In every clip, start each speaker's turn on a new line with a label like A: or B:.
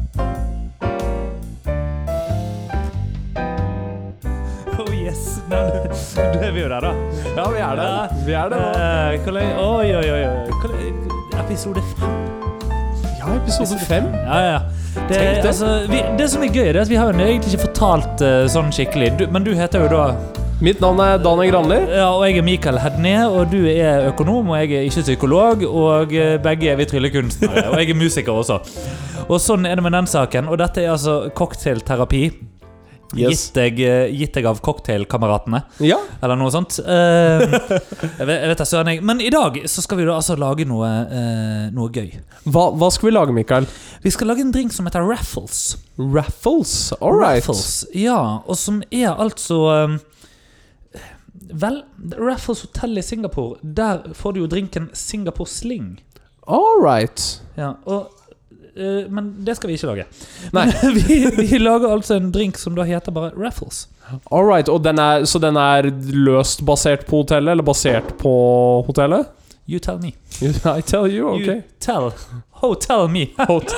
A: Men du er vi jo der, da.
B: Ja, vi er der. Vi er der nå.
A: Eh, hvor lenge- Oi, oi, oi. oi. Hvor lenge- Episode fem.
B: Eh, Ja, episode fem.
A: Ja, ja.
B: Tenk
A: Det,
B: det.
A: altså, vi, det som er gøy, det er at vi har jo egentlig ikke fortalt eh, sånn skikkelig. Du, men du heter jo da
B: Mitt navn er Daniel Granli.
A: Ja, og jeg er Mikael Hedne, og du er økonom, og jeg er ikke psykolog, og eh, begge er vi tryllekunstnere, og jeg er musiker også. Og sånn er det med den saken, og dette er altså cocktailterapi, gitt, deg, eh, gitt deg av cocktailkameratene,
B: Ja.
A: eller noe sånt. Eh, jeg vet, jeg vet da søren jeg. Men i dag så skal vi da altså lage noe, eh, noe gøy.
B: Hva, hva skal vi lage, Mikael?
A: Vi skal lage en drink som heter Raffles.
B: Raffles. All right.
A: Raffles, ja. Og som er altså um, Vel, Raffles hotell i Singapore, der får du jo drinken Singapore Sling.
B: All right.
A: Ja, og eh, men det skal vi ikke lage.
B: Nei.
A: Men vi, vi lager altså en drink som da heter bare Raffles.
B: All right. Og den er, så den er løst basert på hotellet, eller basert på hotellet?
A: You tell me.
B: I tell
A: You
B: you, ok.
A: tell. Oh, tell me.
B: Hot.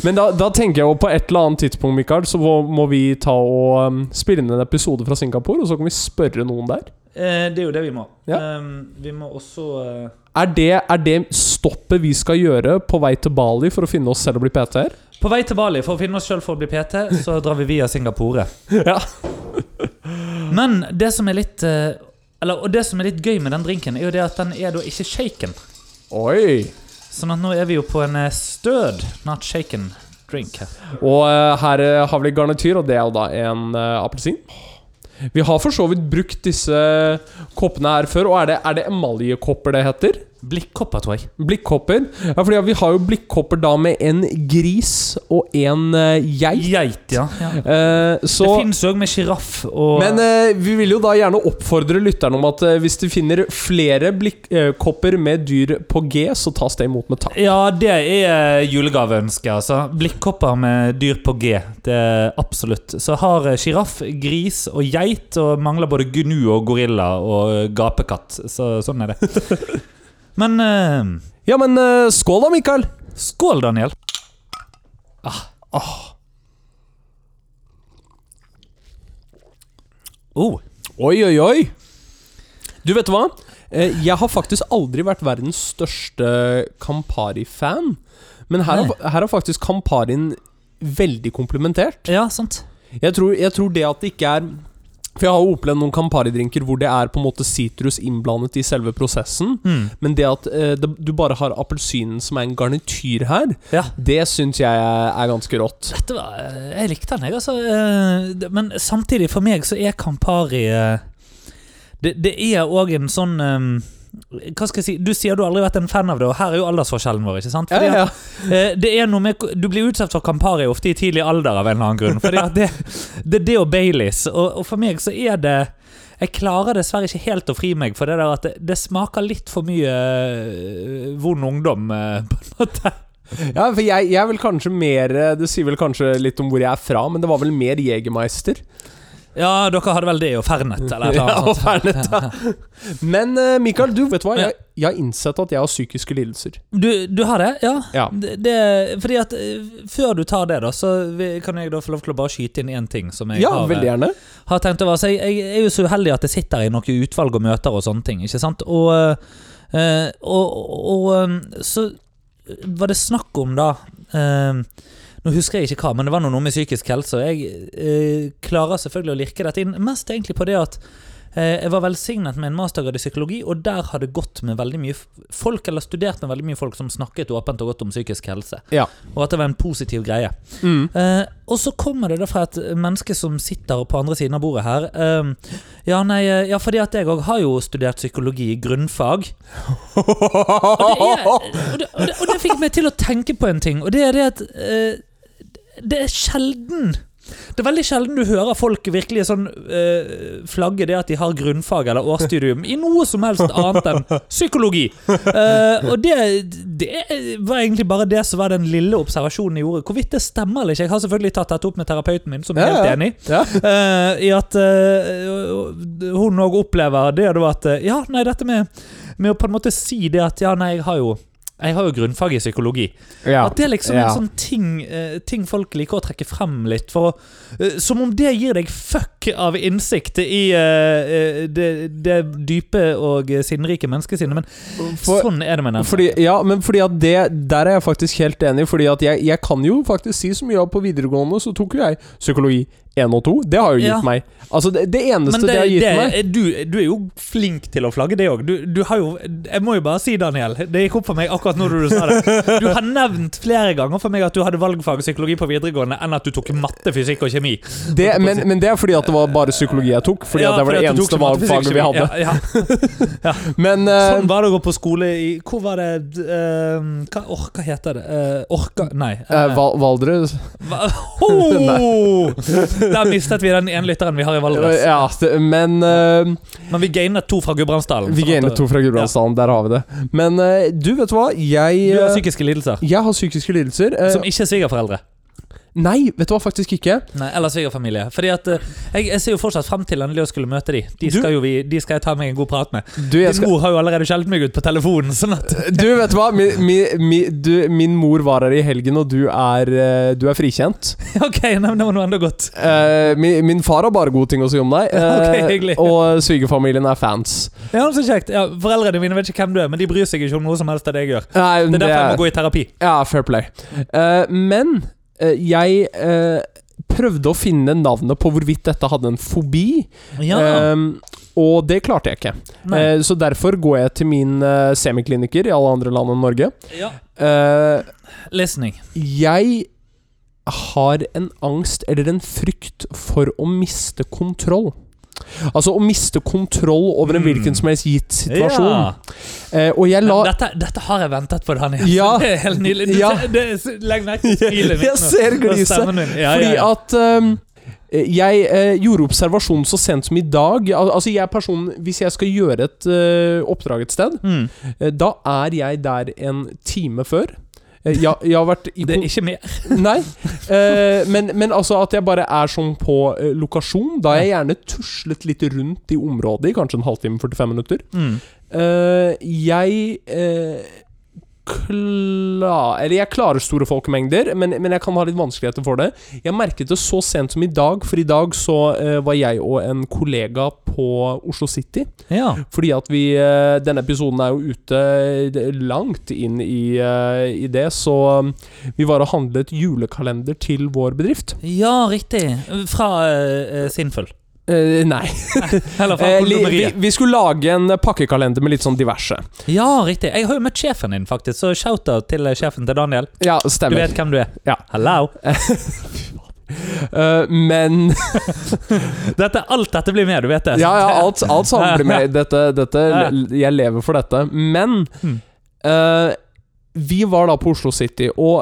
B: Men da, da tenker jeg jo på et eller annet tidspunkt, Mikael, så må må vi ta og um, spille inn en episode fra Singapore, og så kan vi spørre noen der.
A: Eh, det er jo det vi må.
B: Ja.
A: Ehm, vi må også eh,
B: Er det, er det stoppet vi skal gjøre på vei til Bali for å finne oss selv og bli PT-er?
A: På vei til Bali for å finne oss sjøl for å bli PT, så drar vi via Singapore.
B: Ja.
A: Men det som er litt eh, eller, Og det som er litt gøy med den drinken, er jo det at den er da ikke shaken.
B: Oi!
A: Sånn at nå er vi jo på en eh, stød, not shaken drink. her.
B: Og eh, her eh, har vi garnityr, og det er jo da en eh, appelsin. Vi har for så vidt brukt disse eh, koppene her før, og er det, er det emaljekopper det heter?
A: Blikkopper, tror jeg.
B: Blikkopper? Ja, fordi vi har jo blikkopper da med en gris og en eh, geit.
A: Geit, ja. ja.
B: Eh, så
A: Det fins òg med sjiraff og
B: Men eh, vi vil jo da gjerne oppfordre lytterne om at eh, hvis de finner flere blikkopper med dyr på G, så tas det imot med takk.
A: Ja, det er julegaveønsket, altså. Blikkopper med dyr på G. Det er absolutt. Så har sjiraff, gris og geit, og mangler både gnu og gorilla og eh, gapekatt. Så sånn er det. Men eh,
B: Ja, men eh, skål da, Mikael!
A: skål, Daniel. Oh.
B: Oi, oi, oi! Du, vet du hva? Eh, Jeg har faktisk aldri vært verdens største Campari-fan. Men her har,
A: Nei.
B: her har faktisk Camparien veldig komplementert.
A: Ja, sant.
B: Jeg tror, jeg tror det at det ikke er For jeg har jo opplevd noen Campari-drinker hvor det er på en måte sitrus innblandet i selve prosessen.
A: Mm.
B: Men det at eh, det, du bare har appelsinen som er en garnityr her,
A: Ja.
B: det syns jeg er, er ganske rått.
A: Dette var, jeg likte den, jeg. Altså, Eh, det- men samtidig, for meg, så er Campari eh, Det, det er òg en sånn eh, hva skal jeg si? Du sier du har aldri vært en fan av det, og her er jo aldersforskjellen vår. ikke sant?
B: Ja,
A: Fordi
B: ja, ja.
A: at, eh, det er noe med, Du blir utsatt for Campari ofte i tidlig alder av en eller annen grunn. Fordi at det, det er det og Baileys. Og, og for meg så er det Jeg klarer dessverre ikke helt å fri meg for det der at det, det smaker litt for mye eh, vond ungdom. eh, på en måte.
B: ja for jeg, jeg er vel kanskje mer eh, Det sier vel kanskje litt om hvor jeg er fra, men det var vel mer Jegermeister.
A: Ja, dere hadde vel det og Fernet eller et eller
B: Ja,
A: annet.
B: og
A: sånt.
B: Fernet, ja. Men eh, Mikael, du vet du hva?
A: Ja.
B: Jeg, jeg har innsett at jeg har psykiske lidelser.
A: Du, du har det? Ja.
B: Ja.
A: Det, det, fordi at eh, Før du tar det, da så vi- kan jeg da få lov til å bare skyte inn én ting. som jeg
B: Ja,
A: har, eh,
B: veldig gjerne.
A: har tenkt over. Så jeg, jeg er jo så uheldig at jeg sitter i noen utvalg og møter og sånne ting. ikke sant? Og, eh, og, og eh, så var det snakk om, da eh, Nå husker jeg ikke hva, men det var noe med psykisk helse. Og jeg eh, klarer selvfølgelig å lirke dette inn, mest egentlig på det at eh, jeg var velsignet med en mastergrad i psykologi, og der har det gått med veldig mye f- folk, eller studert med veldig mye folk som snakket åpent og godt om psykisk helse.
B: Ja.
A: Og at det var en positiv greie.
B: Mm.
A: Eh, og så kommer det da fra et menneske som sitter på andre siden av bordet her. Eh, ja, nei, eh, ja, fordi at jeg òg har jo studert psykologi i grunnfag. Og det, er, og, det, og, det, og det fikk meg til å tenke på en ting, og det er det at eh, Det er sjelden Det er veldig sjelden du hører folk virkelig sånn eh, flagge det at de har grunnfag eller årsstudium i noe som helst annet enn psykologi. Eh, og det, det var egentlig bare det som var den lille observasjonen jeg gjorde. Hvorvidt det stemmer eller ikke Jeg har selvfølgelig tatt dette opp med terapeuten min, som er
B: Ja,
A: helt
B: ja.
A: enig.
B: Ja.
A: Eh, I at eh, hun òg opplever det da at eh, Ja, nei, dette med, med å på en måte si det at ja, nei, jeg har jo Jeg har jo grunnfag i psykologi.
B: Ja.
A: At det er liksom en
B: Ja.
A: sånn ting, eh, ting folk liker å trekke frem litt for å eh, Som om det gir deg fuck av innsikt i eh, eh, det, det dype og sinnrike menneskesinnet. Men
B: For,
A: sånn er det med den.
B: Fordi, ja, men fordi at det Der er jeg faktisk helt enig, Fordi at jeg, jeg kan jo faktisk si som jeg på videregående, så tok jo jeg psykologi 1 og 2. Det har jo gitt
A: Ja.
B: meg Altså, det, det eneste
A: Men
B: det,
A: det,
B: har gitt
A: det,
B: meg
A: du, du er jo flink til å flagge, det òg. Du, du har jo Jeg må jo bare si, Daniel, det gikk opp for meg akkurat nå da du sa det. Du har nevnt flere ganger for meg at du hadde valgfag psykologi på videregående enn at du tok matte, fysikk og kjemi.
B: det, men, men det er fordi at det var bare psykologi jeg tok. Fordi at det var det
A: fordi at du
B: eneste
A: tok matte, fysikk,
B: valgfaget vi
A: kjemi.
B: hadde.
A: Ja, ja.
B: Men eh,
A: Sånn var det å gå på skole i Hvor var det eh, hva, or, hva heter det? Eh, orka Nei.
B: eh,
A: eh,
B: Val- Valdre
A: hva- Ho! Der mistet vi den ene lytteren vi har i Valdres.
B: Eh, Ja, det- men eh,
A: Men vi gainet to fra Gudbrandsdalen. sånn
B: Vi
A: at-
B: gainer to fra Gudbrandsdalen. Der har vi det. Men eh, du, vet du hva? Jeg
A: Du har
B: eh,
A: psykiske lidelser.
B: jeg har psykiske lidelser. eh,
A: Som ikke er svigerforeldre.
B: nei, vet du hva? Faktisk ikke.
A: Nei, Eller svigerfamilie. Fordi at eh, jeg, jeg ser jo fortsatt frem til endelig å skulle møte de. De
B: Du-
A: skal, jo vi, de skal jeg ta meg en god prat med.
B: Du, jeg
A: Din
B: skal,
A: mor har jo allerede skjelt meg ut på telefonen. Sånn at
B: du vet du hva? Min, min, min, du, min mor var her i helgen, og du er, eh, du er frikjent.
A: Ok, nei, men det var noe enda godt.
B: Eh, min, min far har bare gode ting å si om deg. eh,
A: Ok, hyggelig.
B: og svigerfamilien er fans.
A: Ja, så kjekt. Ja, foreldrene mine vet ikke hvem du er, men de bryr seg ikke om noe som helst av det jeg gjør.
B: Nei,
A: Det er derfor jeg må gå i terapi.
B: Ja, fair play. Eh, men eh, jeg eh, prøvde å finne navnet på hvorvidt dette hadde en fobi.
A: Ja,
B: Ehm, og det klarte jeg ikke.
A: nei.
B: Eh, så derfor går jeg til min eh, semikliniker i alle andre land enn Norge.
A: ja.
B: Eh,
A: Listening.
B: jeg har en angst eller en frykt for å miste kontroll. Altså å miste kontroll over en
A: Mm.
B: hvilken som helst gitt situasjon.
A: Ja.
B: Eh, og jeg la
A: Men Dette, dette har jeg ventet på, Daniel.
B: Ja.
A: Det er helt nydelig. Du,
B: Ja.
A: ser- det, er- legg merke til smilet
B: Jeg ser
A: og
B: gliset.
A: stemmen din. Ja, ja,
B: Fordi
A: ja.
B: at ehm, jeg eh, gjorde observasjon så sent som i dag. Al altså jeg er personen Hvis jeg skal gjøre et eh, oppdrag et sted,
A: Mm.
B: eh, da er jeg der en time før. Eh, jeg, jeg har vært i
A: Det er ikke mer.
B: Nei. Eh, men, men altså at jeg bare er sånn på eh, lokasjon. Da er jeg gjerne tuslet litt rundt i området i kanskje en halvtime, 45 minutter.
A: Mm.
B: Eh, jeg eh, kla- Eller jeg klarer store folkemengder, men, men jeg kan ha litt vanskeligheter for det. Jeg merket det så sent som i dag, for i dag så eh, var jeg og en kollega på Oslo City.
A: Ja.
B: Fordi at vi eh, Denne episoden er jo ute eh, langt inn i, eh, i det, så eh, vi var og handlet julekalender til vår bedrift.
A: ja, riktig. Fra uh, Sinful.
B: Eh, nei.
A: Eller fra
B: Eh, li- vi,
A: Kondomeriet.
B: vi skulle lage en pakkekalender med litt sånn diverse.
A: Ja, riktig. Jeg har jo møtt sjefen din, faktisk, så shout-out til eh, sjefen til Daniel.
B: Ja,
A: Du
B: stemmer.
A: vet hvem du er.
B: Ja.
A: Hello.
B: Eh, men
A: Dette, alt dette blir med, du vet det.
B: Ja, ja, alt, alt sammen blir med. Dette, dette, jeg lever for dette. Men
A: Mm.
B: eh, vi var da på Oslo City, og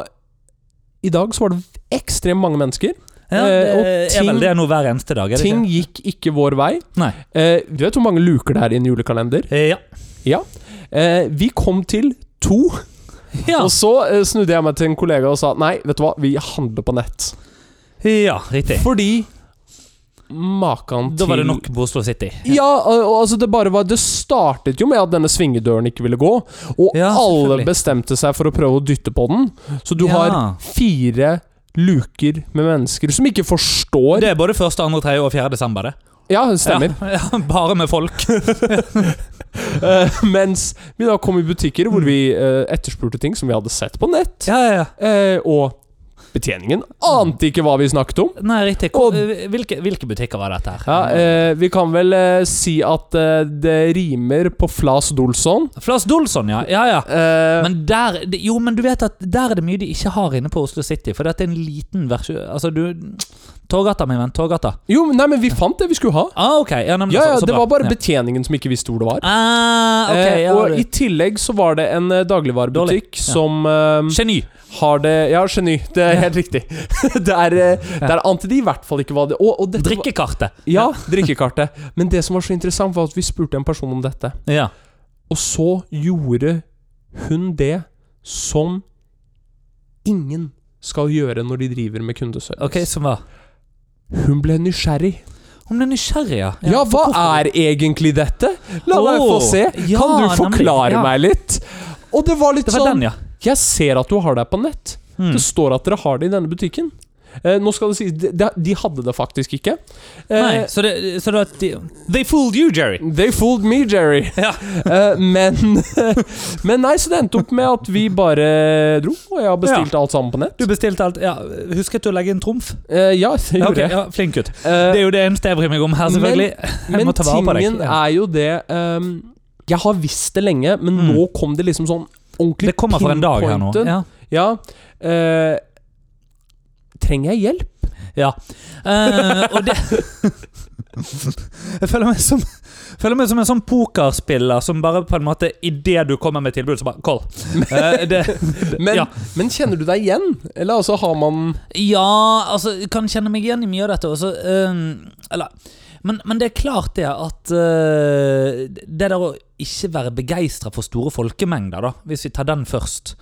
B: i dag så var det ekstremt mange mennesker.
A: Ja,
B: Eh, og
A: det er
B: ting-
A: vel det nå hver eneste dag, er det
B: Ting
A: ikke?
B: gikk ikke vår vei.
A: Nei.
B: Eh, du vet hvor mange luker det er i en julekalender?
A: Ja.
B: Eh, vi kom til to,
A: Ja.
B: og så eh, snudde jeg meg til en kollega og sa nei, vet du hva, vi handler på nett.
A: ja, riktig.
B: Fordi Makan til
A: Da var det nok på Oslo City.
B: Ja, og, og altså det bare var Det startet jo med at denne svingedøren ikke ville gå, og
A: Ja,
B: alle
A: selvfølgelig.
B: bestemte seg for å prøve å dytte på den. Så du
A: Ja.
B: har fire luker med mennesker som ikke forstår
A: Det er både 1., 2., 3. og 4. desember, det.
B: Ja, det stemmer.
A: Ja, ja, bare med folk.
B: Eh, mens vi da kom i butikker hvor vi eh, etterspurte ting som vi hadde sett på nett,
A: Ja, ja, ja.
B: eh, og betjeningen ante ikke hva vi snakket om.
A: Nei, riktig. Hvor, eh,
B: Og-
A: hvilke, hvilke butikker var dette her?
B: Ja, eh, Vi kan vel eh, si at eh, det rimer på Flas Dolson.
A: Flas Dolson, ja. ja, ja.
B: Eh,
A: Men der, det- jo, men du vet at der er det mye de ikke har inne på Oslo City. For dette er en liten versjon Altså, du Torgata, min venn. Torgata.
B: jo, nei, men vi fant det vi skulle ha.
A: Ah, ok. Ja, nei, men
B: Ja,
A: så-
B: ja,
A: så
B: det
A: bra.
B: var bare
A: ja.
B: betjeningen som ikke visste hvor det var.
A: ah, ok,
B: Eh,
A: ja,
B: og
A: du-
B: i tillegg så var det en eh, dagligvarebutikk
A: Dårlig, ja.
B: som eh,
A: Geni.
B: har det Ja, geni. Det er helt riktig. der, eh, der ante de i hvert fall ikke hva det Og, og dette var-
A: Drikkekartet.
B: Ja, drikkekartet. Men det som var så interessant, var at vi spurte en person om dette.
A: Ja.
B: Og så gjorde hun det som ingen skal gjøre når de driver med kundeservice.
A: Ok, som var
B: Hun ble nysgjerrig.
A: Hun ble nysgjerrig, ja.
B: Ja, hva
A: hvorfor-
B: er egentlig dette? La meg få
A: Åh,
B: se.
A: ja,
B: Kan du
A: nemlig,
B: forklare
A: ja.
B: meg litt? Og det var litt
A: Det var
B: sånn
A: den, ja.
B: Jeg ser at du har det på nett.
A: Mm.
B: Det står at dere har det i denne butikken. Eh, nå skal det sies, de, de- de hadde det faktisk ikke. Eh,
A: Nei, så det, så det var at de, They fooled you, Jerry!
B: They fooled me, Jerry.
A: Ja.
B: Eh, men, men nei, så det endte opp med at vi bare dro, og jeg bestilte alt sammen på nett.
A: Du bestilte alt. Ja, Husket du å legge inn trumf?
B: Eh, ja, det
A: Ja, ok,
B: gjorde jeg.
A: ja, flink gutt.
B: Eh,
A: Det er jo det eneste jeg bryr meg om her, selvfølgelig. Jeg
B: Men
A: må ta vare på deg.
B: tingen er jo det ehm, Jeg har visst det lenge, men
A: Mm.
B: nå kom det liksom sånn ordentlig
A: Det kommer for en dag her nå.
B: pinpointed.
A: Ja.
B: Ja. eh, trenger jeg hjelp?
A: Eh, og det Jeg føler meg som Føler meg som en sånn pokerspiller som bare på en måte idet du kommer med tilbud, så bare Call. Eh, det,
B: Men,
A: Ja.
B: men kjenner du deg igjen? Eller altså har man
A: ja, altså, jeg kan kjenne meg igjen i mye av dette. Også, eh, eller, men, men det er klart det at eh, Det der å ikke være begeistra for store folkemengder, da, hvis vi tar den først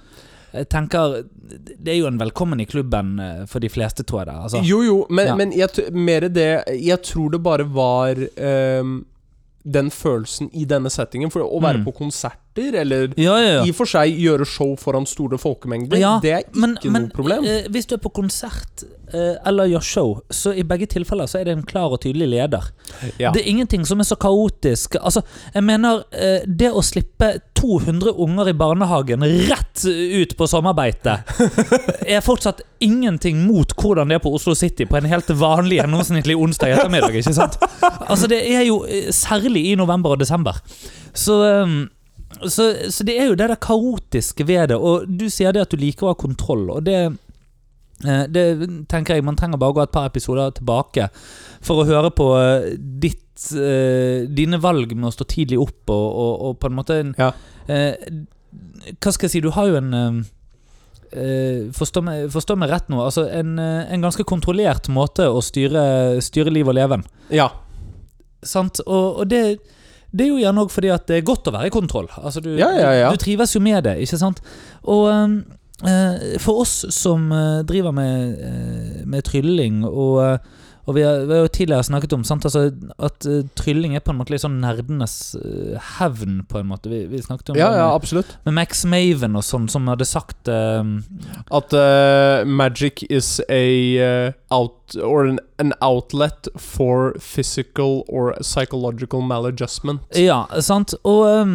A: Jeg tenker Det er jo en velkommen i klubben eh, for de fleste, tror jeg. det altså.
B: Jo, jo, men,
A: Ja.
B: men jeg, t- mer det Jeg tror det bare var ehm, den følelsen i denne settingen. For å være
A: Mm.
B: på konserter, eller
A: Ja, ja, ja.
B: i og for seg gjøre show foran store folkemengder,
A: Ja,
B: det er ikke
A: men, men
B: noe problem.
A: eh, hvis du er på konsert eh, eller gjør show, så i begge tilfeller så er det en klar og tydelig leder.
B: Ja.
A: eh, Det er ingenting som er så kaotisk. Altså, jeg mener, eh, det å slippe 200 unger i barnehagen rett ut på sommerbeite, er fortsatt ingenting mot hvordan det er på Oslo City på en helt vanlig gjennomsnittlig onsdag ettermiddag, ikke sant? Altså, det er jo eh, særlig i november og desember. Så... eh, så, så det er jo det der kaotiske ved det, og du sier det at du liker å ha kontroll, og det eh, det tenker jeg Man trenger bare å gå et par episoder tilbake for å høre på eh, ditt, eh, dine valg med å stå tidlig opp og, og, og på en måte en,
B: Ja.
A: eh, Hva skal jeg si Du har jo en eh, eh, Forstå meg, forstå meg rett nå. Altså en, eh, en ganske kontrollert måte å styre, styre liv og leven.
B: ja.
A: Sant? Og, og det, det er jo gjerne òg fordi at det er godt å være i kontroll. Altså, du,
B: Ja, ja, ja.
A: du trives jo med det, ikke sant? Og ehm, eh, for oss som eh, driver med, eh, med trylling og eh, og vi har, vi har jo tidligere snakket om sant? Altså, at eh, trylling er på en måte litt sånn nerdenes eh, hevn, på en måte. Vi, vi snakket om
B: ja,
A: det
B: ja,
A: med,
B: absolutt.
A: med Max Maven og sånn, som hadde sagt ehm,
B: At eh, magic is a eh, out or an, an outlet for physical or psychological maladjustment.
A: Ja, sant. Og, ehm,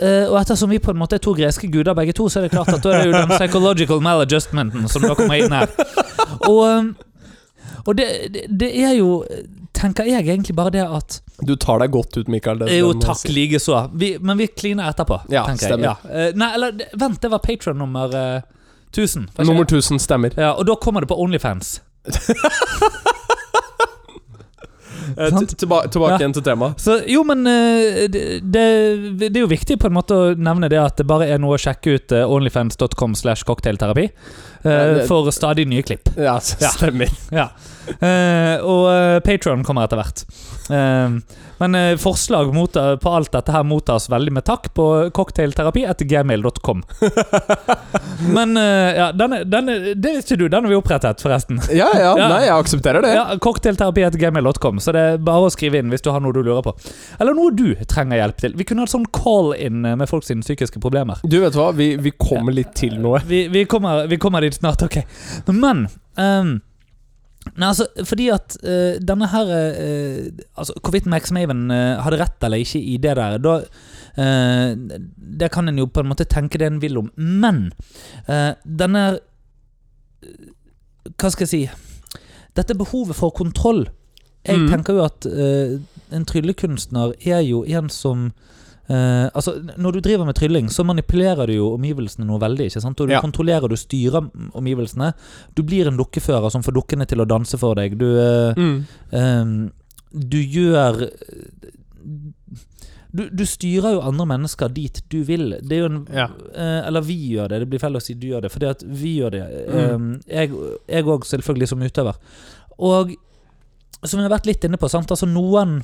A: eh, og ettersom vi på en måte er to greske guder begge to, så er det klart at da er det jo den psychological maladjustmenten som da kommer inn her. Og, ehm, og det, det, det er jo Tenker jeg egentlig bare det at
B: Du tar deg godt ut, Mikael. det-
A: Jo,
B: det må jeg
A: takk
B: si.
A: likeså. Vi- Men vi kliner etterpå,
B: Ja,
A: tenker jeg.
B: stemmer.
A: Ja. Eh, Nei, eller det- vent, det var patron nummer eh, 1000. var ikke
B: Nummer
A: det?
B: 1000 stemmer.
A: Ja, og da kommer det på Onlyfans.
B: Eh,
A: Sant?
B: til- tilba tilbake
A: Ja.
B: igjen til temaet.
A: Så, jo, men eh, det, det, det er jo viktig på en måte å nevne det at det bare er noe å sjekke ut eh, onlyfans.com slash cocktailterapi
B: Ja,
A: eh,
B: det-
A: for stadig nye klipp.
B: Ja, s-
A: Ja.
B: stemmer.
A: Ja. Eh, og uh, Patron kommer etter hvert. Eh, men eh, forslag mot, på alt dette her mottas veldig med takk på cocktailterapi etter gmail.com. men eh, ja, den, er- den, er- det visste du, den har vi opprettet, forresten.
B: Ja, ja,
A: Ja.
B: nei, jeg aksepterer det.
A: Ja, Cocktailterapi.gmail.com, så det er bare å skrive inn hvis du har noe du lurer på. Eller noe du trenger hjelp til. Vi kunne hatt sånn call-in med folk sine psykiske problemer.
B: Du, vet du hva, vi, vi kommer litt til noe.
A: Vi, vi, kommer, vi kommer dit snart, ok. Men ehm, Nei, altså, fordi at eh, denne her eh, Altså, hvorvidt Max Maven eh, hadde rett eller ikke i det der, da eh, Det kan en jo på en måte tenke det en vil om, men eh, denne Hva skal jeg si Dette behovet for kontroll Jeg
B: Mm.
A: tenker jo at eh, en tryllekunstner er jo en som eh, altså, Når du driver med trylling, så manipulerer du jo omgivelsene noe veldig. ikke sant? Og du
B: Ja.
A: kontrollerer, du styrer omgivelsene. Du blir en dukkefører som får dukkene til å danse for deg. Du, eh,
B: Mm.
A: ehm, du gjør du, du styrer jo andre mennesker dit du vil. Det er jo en,
B: Ja.
A: eh, eller vi gjør det. Det blir feil å si du gjør det, fordi at vi gjør det.
B: Mm.
A: Eh, jeg òg, selvfølgelig, som utøver. Og som vi har vært litt inne på, sant? Altså, noen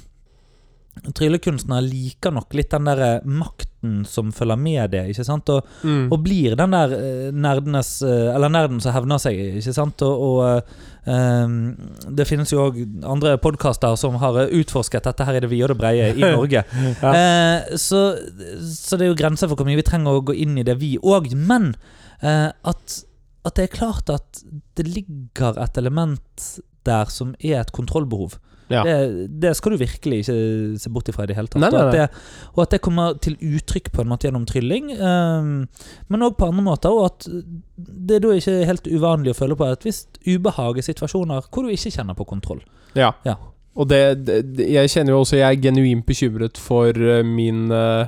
A: tryllekunstnere liker nok litt den der makt myten som følger med det. ikke sant? Og,
B: Mm.
A: og blir den der eh, nerdenes eh, Eller nerden som hevner seg, ikke sant? Og, og eh, em, det finnes jo òg andre podkaster som har eh, utforsket dette her i det vide og det brede i Norge.
B: Ja.
A: Eh, så, så det er jo grenser for hvor mye vi trenger å gå inn i det, vi òg. Men eh, at, at det er klart at det ligger et element der som er et kontrollbehov.
B: Ja.
A: Det, det skal du virkelig ikke se bort ifra i det hele tatt.
B: Nei, nei,
A: Og, at
B: nei.
A: det, og at det kommer til uttrykk på en måte gjennom trylling, ehm, men òg på andre måter. Og at det er da ikke helt uvanlig å føle på et visst ubehag i situasjoner hvor du ikke kjenner på kontroll.
B: Ja.
A: Ja.
B: Og det, det det- Jeg kjenner jo også Jeg er genuint bekymret for eh, min eh,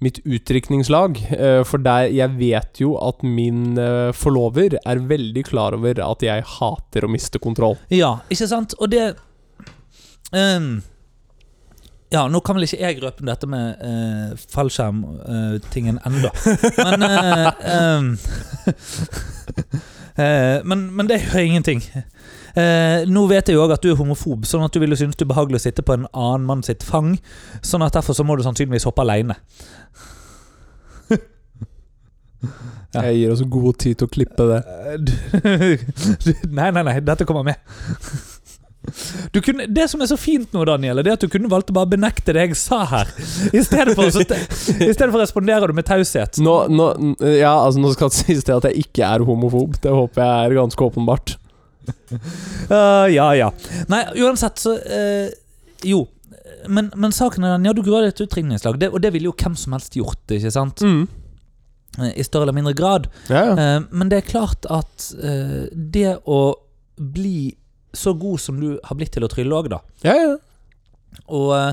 B: mitt utdrikningslag. eh, For der jeg vet jo at min eh, forlover er veldig klar over at jeg hater å miste kontroll.
A: Ja, ikke sant? Og det ehm, Ja, nå kan vel ikke jeg røpe dette med uh, fallskjermtingen ennå, men eh, ehm, eh, men, men det gjør ingenting. Eh, nå vet jeg jo òg at du er homofob, sånn at du ville synes det er behagelig å sitte på en annen mann sitt fang. Sånn at derfor så må du sannsynligvis hoppe aleine. Ja.
B: Jeg gir oss god tid til å klippe det.
A: Eh, nei, nei, nei, dette kommer med. Du kunne, det som er så fint nå, Daniel, er det at du kunne valgt å bare benekte det jeg sa her. I stedet for, så, i stedet for responderer du med taushet.
B: Nå, nå, ja, altså, nå skal det sies det at jeg ikke er homofob. Det håper jeg er ganske åpenbart.
A: Øh, ja, ja. Nei, uansett, så eh, Jo. Men, men saken er den, ja, du gruer deg til utringningslag, det, og det ville jo hvem som helst gjort, ikke sant?
B: Mm.
A: Eh, I større eller mindre grad.
B: Ja, ja.
A: Eh, men det er klart at eh, det å bli så god som du har blitt til å trylle òg, da,
B: ja, ja.
A: Og eh,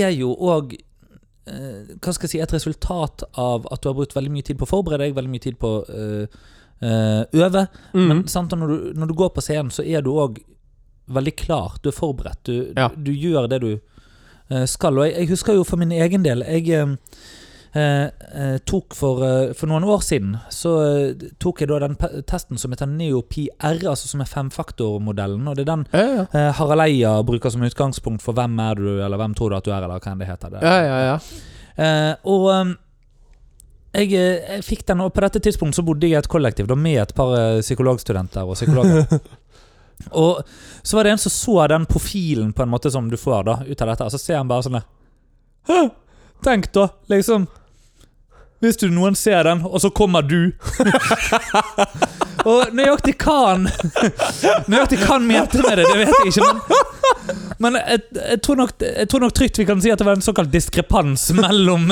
A: er jo òg eh, hva skal jeg si, et resultat av at du har brukt veldig mye tid på å forberede deg, veldig mye tid på å eh, eh, øve.
B: Mm.
A: Men sant, og når, du, når du går på scenen, så er du òg veldig klar. Du er forberedt. Du,
B: Ja.
A: du gjør det du eh, skal. Og jeg, jeg husker jo for min egen del Jeg eh, eh, eh, tok for, eh, for noen år siden Så eh, tok jeg da den pe- testen som heter NeoPR, altså som er femfaktormodellen. Og det er den
B: ja, ja.
A: Eh, Harald Eia bruker som utgangspunkt for hvem er du, eller hvem tror du at du er, eller hva enn det heter. Det.
B: ja, ja, ja.
A: Eh, og eh, jeg, eh, jeg fikk den, og på dette tidspunktet så bodde jeg i et kollektiv da, med et par eh, psykologstudenter og psykologer. og så var det en som så den profilen på en måte som du får da, ut av dette, og så ser han bare sånn der Hæ? Tenk da, liksom. Hvis du noen ser den, og så kommer du. og nøyaktig hva han Nøyaktig hva han mente med det, det vet jeg ikke, men men jeg, jeg, tror nok, jeg tror nok trygt vi kan si at det var en såkalt diskrepans mellom,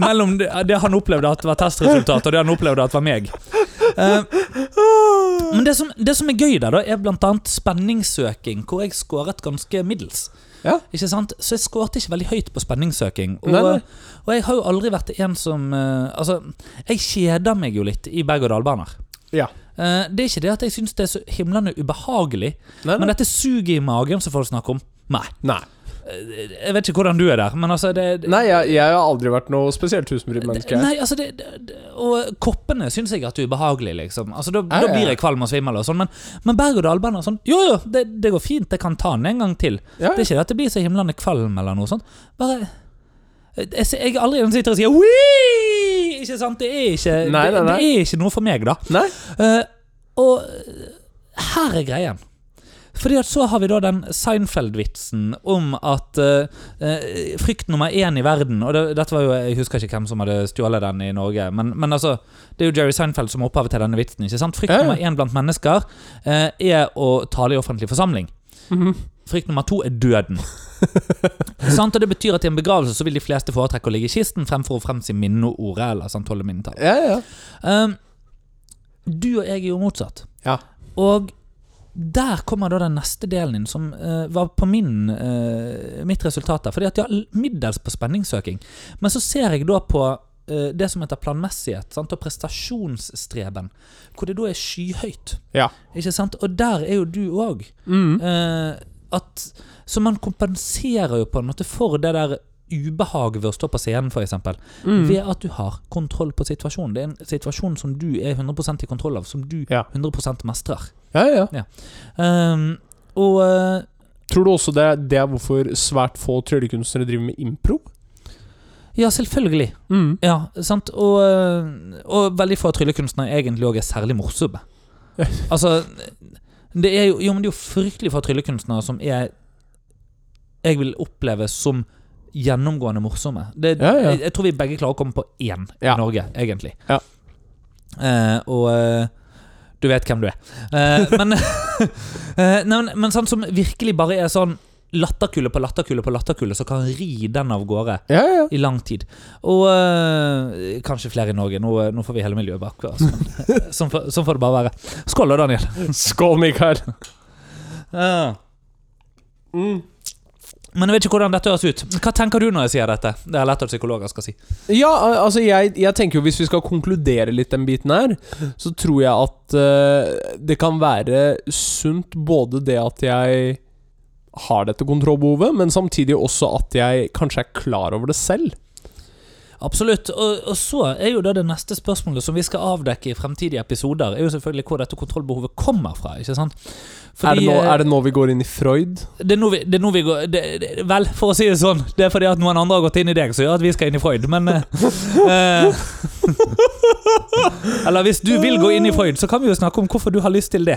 A: mellom det, det han opplevde at var testresultat, og det han opplevde at var meg. Eh, men det som, det som er gøy der, da, er bl.a. spenningssøking, hvor jeg skåret ganske middels.
B: Ja.
A: Ikke sant? Så jeg skåret ikke veldig høyt på spenningssøking. Og,
B: Nei, nei.
A: og jeg har jo aldri vært en som eh, Altså, jeg kjeder meg jo litt i berg-og-dal-baner.
B: Ja.
A: Eh, det er ikke det at jeg syns det er så himlende ubehagelig,
B: Nei,
A: men
B: nei.
A: dette suget i magen som folk snakker om. Nei.
B: nei.
A: Jeg vet ikke hvordan du er der, men altså det,
B: nei jeg, jeg har aldri vært noe spesielt husbrydd menneske.
A: Nei, altså det, det, det- Og koppene syns jeg at det er ubehagelig, liksom. Altså Da,
B: Ja, ja,
A: da blir
B: ja.
A: jeg kvalm og svimmel og sånn, men, men berg-og-dal-bane og sånn Jo, jo, det, det går fint, jeg kan ta den en gang til.
B: Ja,
A: Det er ikke det at det blir så himlende kvalm eller noe sånt. Bare Jeg, ser- jeg er aldri den som sitter og sier Wii! Ikke sant? Det er ikke,
B: Nei, nei,
A: det,
B: nei.
A: det er ikke noe for meg, da.
B: Nei?
A: Eh, og her er greien. Fordi at så har vi da den Seinfeld-vitsen om at eh, eh, frykt nummer én i verden Og det, dette var jo, jeg husker ikke hvem som hadde stjålet den i Norge, men, men altså Det er jo Jerry Seinfeld som er opphavet til denne vitsen. ikke sant? Frykt
B: Ja, ja.
A: nummer én blant mennesker eh, er å tale i offentlig forsamling.
B: Mhm.
A: Frykt nummer to er døden. sant? Og det betyr at i en begravelse så vil de fleste foretrekke å ligge i kisten fremfor å fremsi minneordet eller sånn sant, holde minnetall.
B: Ja, ja.
A: Um, du og jeg er jo motsatt.
B: Ja.
A: Og der kommer da den neste delen inn, som eh, var på min, eh, mitt resultat. der. Fordi at jeg har l- middels på spenningssøking. Men så ser jeg da på eh, det som heter planmessighet, sant? og prestasjonsstreben, hvor det da er skyhøyt.
B: Ja.
A: Ikke sant? Og der er jo du òg.
B: Mm.
A: Eh, at, så man kompenserer jo på en måte for det der ubehaget ved å stå på scenen, f.eks.
B: Mm.
A: Ved at du har kontroll på situasjonen. Det er en situasjon som du er 100 i kontroll av, som du
B: Ja.
A: 100 mestrer.
B: ja, ja.
A: Ehm, og eh,
B: Tror du også det, det er hvorfor svært få tryllekunstnere driver med impro?
A: Ja, selvfølgelig.
B: Mm.
A: Ja, sant? Og, øh, og veldig få tryllekunstnere egentlig òg er særlig morsomme. Altså det er jo, jo, men det er jo fryktelig få tryllekunstnere som er Jeg vil oppleve som gjennomgående morsomme. Det,
B: Ja, ja.
A: Jeg, jeg tror vi begge klarer å komme på én i
B: Ja.
A: Norge, egentlig.
B: Ja.
A: Eh, og eh, du vet hvem du er. Eh, men, eh, nei, men, men sånn som virkelig bare er sånn latterkulle på latterkulle på latterkulle, så kan ri den av gårde
B: Ja, ja.
A: i lang tid. Og øh, kanskje flere i Norge. Nå, eh, nå får vi hele miljøet bak oss. Men, øh, sånn, får- sånn får det bare være. Skål da, Daniel.
B: Skål, Mikael.
A: Ja.
B: Mm.
A: Men jeg vet ikke hvordan dette høres ut. Hva tenker du når jeg sier dette? Det er lett at psykologer skal si.
B: Ja, al- altså jeg, jeg tenker jo Hvis vi skal konkludere litt den biten her, så tror jeg at eh, det kan være sunt både det at jeg har dette kontrollbehovet, men samtidig også at jeg kanskje er klar over det selv.
A: Absolutt. Og, og så er jo da det neste spørsmålet som vi skal avdekke i fremtidige episoder, er jo selvfølgelig hvor dette kontrollbehovet kommer fra. ikke sant? Fordi,
B: er, det nå,
A: øh,
B: er det nå vi går inn i Freud?
A: Det er nå vi, det er nå vi går det, det, Vel, for å si det sånn, det er fordi at noen andre har gått inn i deg som gjør at vi skal inn i Freud, men eh, eh, Eller hvis du vil gå inn i Freud, så kan vi jo snakke om hvorfor du har lyst til det.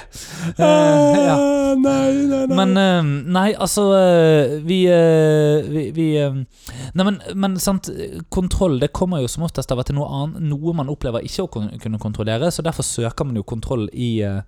A: Eh, ja.
B: Ah, Nei, nei, nei.
A: Men eh, nei, altså eh, Vi, eh, vi, vi eh, Nei, men, men sant, kontroll det kommer jo som oftest av at det er noe annet Noe man opplever ikke å kun- kunne kontrollere, så derfor søker man jo kontroll i, eh,